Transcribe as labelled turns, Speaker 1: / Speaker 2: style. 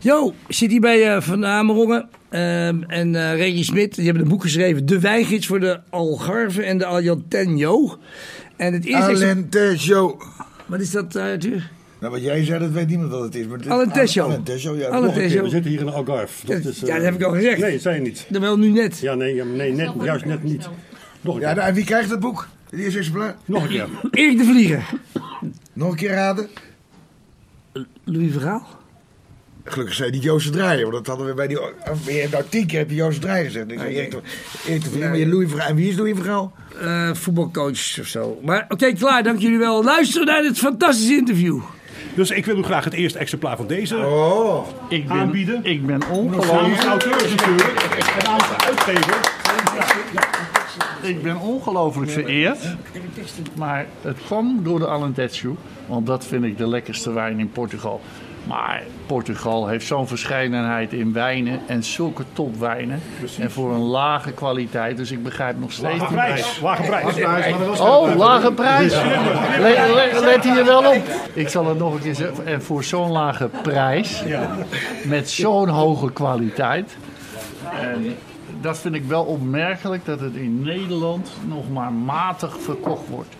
Speaker 1: Jo, zit hier bij eh, Van Amerongen ehm, en eh Reggie Smit. Die hebben een boek geschreven, De Wijngids voor de Algarve en de Aljantenjo. En het eerste... is-
Speaker 2: Alentejo.
Speaker 1: Wat is dat, eh, Arthur?
Speaker 2: Nou, wat jij zei, dat weet niemand wat het is. Maar dit-
Speaker 1: Alentejo.
Speaker 2: Alentejo, ja.
Speaker 1: Alentejo.
Speaker 2: Nog een keer.
Speaker 1: Zo.
Speaker 3: We zitten hier in Algarve.
Speaker 1: Ja,
Speaker 3: Dat, is, eh,
Speaker 1: ja, dat heb ik al gezegd.
Speaker 3: Nee, zei je niet.
Speaker 1: Dan wel nu net.
Speaker 3: Ja, nee, ja, nee net, juist net niet. Nog een
Speaker 2: Ja,
Speaker 3: keer.
Speaker 2: nou, en wie krijgt dat boek? Het eerste exemplaar.
Speaker 3: Nog een keer.
Speaker 1: Erik de Vlieger.
Speaker 2: Nog een keer raden.
Speaker 1: Louis Verhaal.
Speaker 2: Gelukkig zei die Joost Draaier, want dat hadden we bij die... of, Je hebt nou tien keer heb je Joost Draaier gezegd. Ik zei, Erik, Erik de Vlier, maar je Louis Vergaal. En wie is Louis Vergaal?
Speaker 1: Eh, voetbalcoach of zo. Maar oké, klaar. Dank jullie wel. Luisteren naar dit fantastische interview.
Speaker 3: Dus ik wil u graag het eerste exemplaar van deze
Speaker 2: Oh,
Speaker 4: Ik ben,
Speaker 3: aanbieden.
Speaker 4: ik ben
Speaker 3: Namens
Speaker 4: ongelooflijk,
Speaker 3: de auteurs natuurlijk. En namens de uitgever.
Speaker 4: ik ben ongelooflijk vereerd. Maar het kwam door de Alentejo. Want dat vind ik de lekkerste wijn in Portugal. Maar Portugal heeft zo'n verscheidenheid in wijnen. En zulke topwijnen. En voor een lage kwaliteit. Dus ik begrijp nog steeds
Speaker 3: Lage
Speaker 4: niet-
Speaker 3: prijs. Lage prijs.
Speaker 4: Oh, lage prijs. Le- le- let hier wel op. Ik zal het nog een keer zeggen. En voor zo'n lage prijs, met zo'n hoge kwaliteit. En dat vind ik wel opmerkelijk dat het in Nederland nog maar matig verkocht wordt.